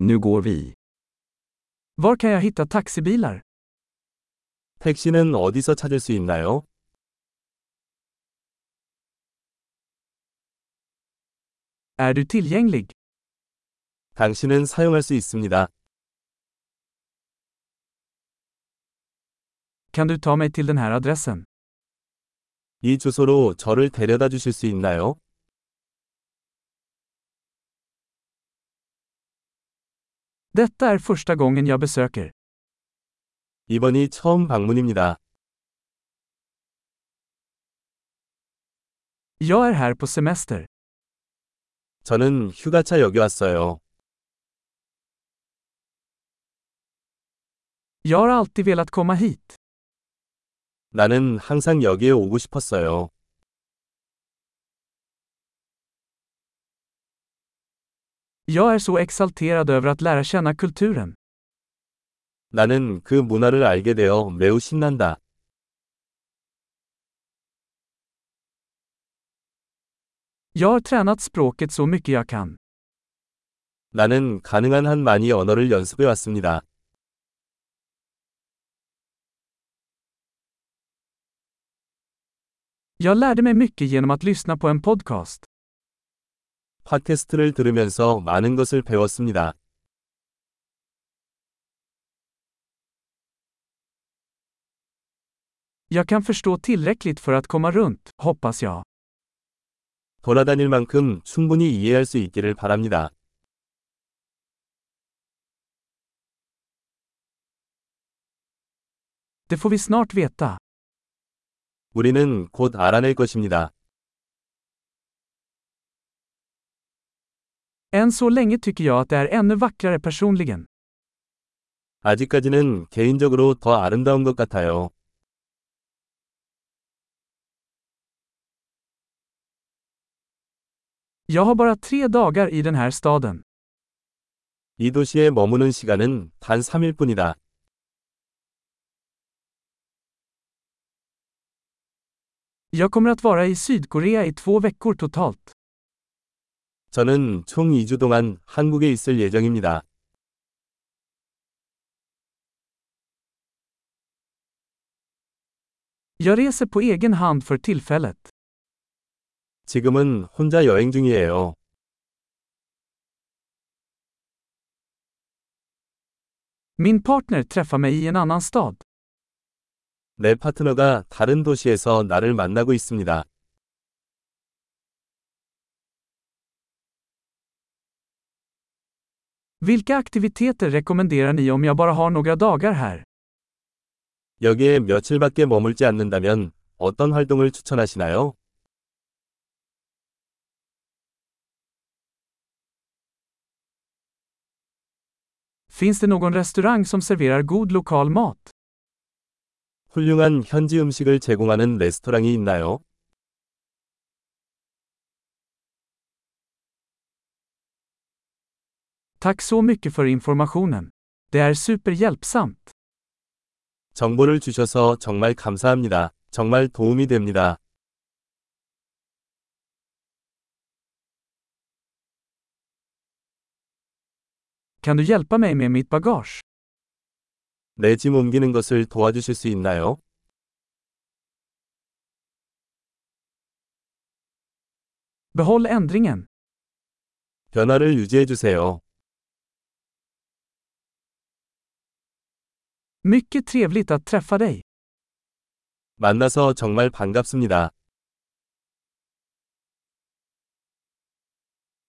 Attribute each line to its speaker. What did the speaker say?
Speaker 1: Nu går vi.
Speaker 2: Var kan jag hitta taxibilar?
Speaker 3: 택시는 어디서 찾을 수 있나요?
Speaker 2: Är du tillgänglig?
Speaker 3: 당신은 사용할 수 있습니다.
Speaker 2: Kan du ta mig till den här adressen?
Speaker 3: 이 주소로 저를 데려다 주실 수 있나요?
Speaker 2: Detta är första gången jag besöker.
Speaker 3: 이번이 처음 방문입니다.
Speaker 2: Jag är här på semester.
Speaker 3: 저는 휴가차 여기 왔어요.
Speaker 2: Jag har alltid velat komma hit.
Speaker 3: 나는 항상 여기에 오고 싶었어요.
Speaker 2: Jag är så exalterad över att lära känna kulturen.
Speaker 3: 나는 그 문화를 알게 되어 매우 신난다.
Speaker 2: Jag har tränat språket så mycket jag kan.
Speaker 3: 나는 가능한 한 많이 언어를 연습해 왔습니다.
Speaker 2: Jag lärde mig mycket genom att lyssna på en podcast.
Speaker 3: 팟캐스트를 들으면서 많은 것을 배웠습니다.
Speaker 2: Jag kan förstå tillräckligt för att komma runt, hoppas jag.
Speaker 3: 돌아다닐 만큼 충분히 이해할 수 있기를 바랍니다.
Speaker 2: Det får vi snart veta.
Speaker 3: 우리는 곧 알아낼 것입니다.
Speaker 2: Än så länge tycker jag att det är ännu vackrare personligen.
Speaker 3: 아직까지는 개인적으로 더 아름다운 것 같아요.
Speaker 2: Jag har bara tre dagar i den här staden.
Speaker 3: 이 도시에 머무는 시간은 단 3일 뿐이다.
Speaker 2: Jag kommer att vara i Sydkorea i två veckor totalt.
Speaker 3: 저는 총 2주 동안 한국에 있을 예정입니다.
Speaker 2: Jag reser på egen hand för tillfället.
Speaker 3: 지금은 혼자 여행 중이에요.
Speaker 2: Min partner träffar mig i en annan stad.
Speaker 3: 내 파트너가 다른 도시에서 나를 만나고 있습니다.
Speaker 2: Vilka aktiviteter rekommenderar ni om jag bara har några dagar här?
Speaker 3: 여기에 며칠밖에 머물지 않는다면 어떤 활동을 추천하시나요?
Speaker 2: Finns det någon restaurang som serverar god lokal mat?
Speaker 3: 훌륭한 현지 음식을 제공하는 레스토랑이 있나요?
Speaker 2: Tack så mycket för informationen. Det är superhjälpsamt.
Speaker 3: 정보를 주셔서 정말 감사합니다. 정말 도움이 됩니다.
Speaker 2: Kan du hjälpa mig med mitt bagage?
Speaker 3: 내 짐 옮기는 것을 도와주실 수 있나요?
Speaker 2: Behåll ändringen.
Speaker 3: 변화를 유지해 주세요.
Speaker 2: Mycket trevligt att träffa dig.
Speaker 3: 만나서 정말 반갑습니다.